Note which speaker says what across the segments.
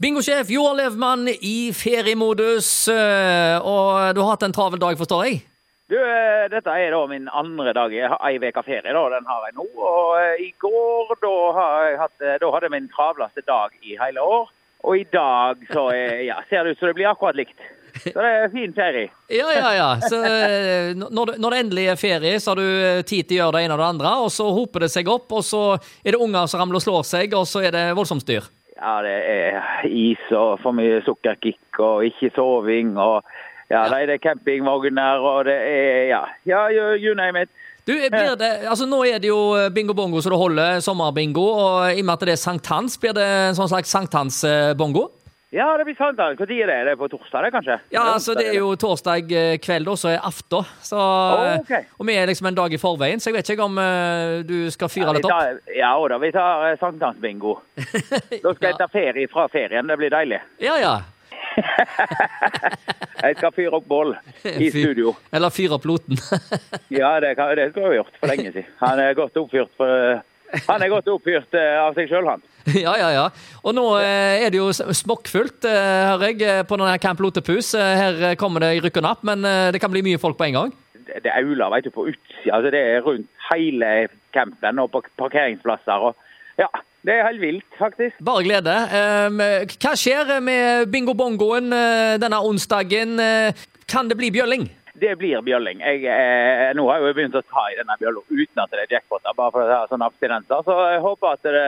Speaker 1: Bingosjef Joar Levmann i feriemodus, eh, og du har hatt en travel dag, forstår jeg?
Speaker 2: Du, eh, dette er da min andre dag. Jeg har ei uke ferie, da. Den har jeg nå. Og eh, i går, da, har jeg hatt, eh, da hadde jeg min travleste dag i hele år. Og i dag så eh, ja, ser det ut som det blir akkurat likt. Så det er fin ferie.
Speaker 1: Ja, ja, ja. Så eh, når, det- når det endelig er ferie, så har du eh, tid til å gjøre det ene og det andre, og så hoper det seg opp, og så er det unger som ramler og slår seg, og så er det voldsomt styr.
Speaker 2: Ja, det er is og for mye sukkerkick og ikke soving og ja, nei, det er campingvogner og det er ja, ja you, you name it.
Speaker 1: Du, eh, blir det, altså Nå er det jo eh, bingo bongo så det holder, sommerbingo, og i og med at det er sankthans, blir det en sånn slags sankthansbongo?
Speaker 2: Ja, det blir sant. da. Når er det? Det er på torsdag, det, kanskje?
Speaker 1: Ja, altså det er jo torsdag eh, kveld, da, så er aften. Så, eh,
Speaker 2: ok.
Speaker 1: Og vi er liksom en dag i forveien, så jeg vet ikke om eh, du skal fyre
Speaker 2: Ja, vi
Speaker 1: litt opp.
Speaker 2: tar- Ja og da, vi tar eh, sankthansbingo. Da skal jeg ta ferie fra ferien, det blir deilig.
Speaker 1: Ja, ja.
Speaker 2: Jeg skal fyre opp bål i
Speaker 1: Fyr-
Speaker 2: studio.
Speaker 1: Eller fyre opp loten.
Speaker 2: Ja, det, kan, det skulle jeg gjort for lenge siden. Han er godt oppfyrt, for, eh, han er godt oppfyrt eh, av seg sjøl, han.
Speaker 1: ja, ja, ja. Og nå eh, er det jo s- smokkfullt, eh, hører jeg, eh, på denne Camp Lotepus. Eh, Her eh, kommer det i rykk og napp, men eh, det kan bli mye folk på en gang.
Speaker 2: Det det auler vet du, på utsida. Altså, det er rundt hele campen og på parkeringsplasser. Og, ja, det er helt vilt, faktisk.
Speaker 1: Bare glede. Um, Hva skjer med bingo-bongoen eh, denne onsdagen? Eh, Kan det bli bjølling?
Speaker 2: Det blir bjølling. Jeg, eh, nå har jeg jo begynt å ta i denne bjølla uten at det er jackpoter, bare for å ha sånne abstinenser. Så jeg håper at det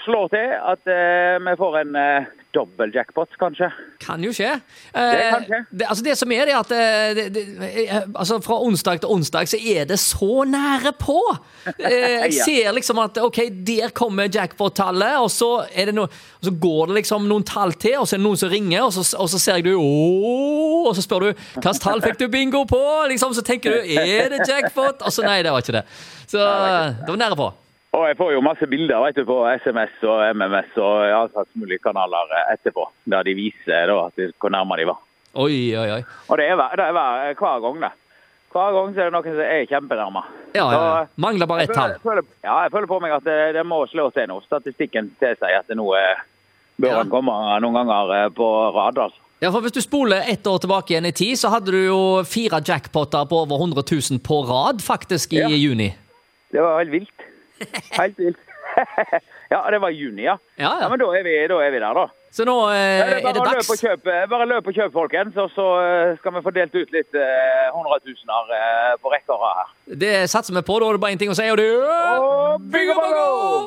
Speaker 2: slår til, at eh, vi får en eh, dobbel jackpot, kanskje.
Speaker 1: Kan jo skje.
Speaker 2: Det kan skje.
Speaker 1: Eh, det, altså det som er, det er at eh, det, det, eh, altså fra onsdag til onsdag så er det så nære på! Eh, Jeg
Speaker 2: Ja.
Speaker 1: ser liksom at OK, der kommer jackpot-tallet, og så er det noe, og så går det liksom noen tall til, og så er det noen som ringer, og så, og så ser jeg du «Åh», Og så spør du hvilket tall fikk du bingo på? Liksom, så tenker du er det jackpot? Og så nei, det var ikke det. Så det var nære på.
Speaker 2: Og jeg får jo masse bilder vet du, på SMS og MMS og alle slags mulige kanaler eh, etterpå, der de viser da, at det- hvor nærme de var.
Speaker 1: Oi, oi, oi.
Speaker 2: Og det er, hver, det er hver, hver gang, det. Hver gang så er det noen som er kjempenærme.
Speaker 1: Ja, ja.
Speaker 2: Så, eh,
Speaker 1: Mangler bare ett
Speaker 2: jeg føler-
Speaker 1: tall.
Speaker 2: føler- Ja, jeg føler på meg at det, det må slå til nå. Statistikken tilsier at det nå eh, bør
Speaker 1: Ja.
Speaker 2: han komme noen ganger eh, på rad. altså.
Speaker 1: Ja, for Hvis du spoler ett år tilbake igjen i tid, så hadde du jo fire jackpoter på over 100 000 på rad faktisk i
Speaker 2: Ja.
Speaker 1: juni.
Speaker 2: Det var helt vilt. Helt vilt. ja, det var i juni, ja.
Speaker 1: Ja, ja.
Speaker 2: ja men da er, vi, da er vi der, da.
Speaker 1: Så nå
Speaker 2: Ja,
Speaker 1: eh, er
Speaker 2: det er
Speaker 1: det
Speaker 2: bare, å løp
Speaker 1: dags.
Speaker 2: og kjøp, eh, bare løp og kjøp, folkens, og så eh, skal vi få delt ut litt eh, hundretusener eh, på rekke og rad her.
Speaker 1: Det satser vi på. Da er det bare én ting å si, og det er
Speaker 2: Og bingo, bongo!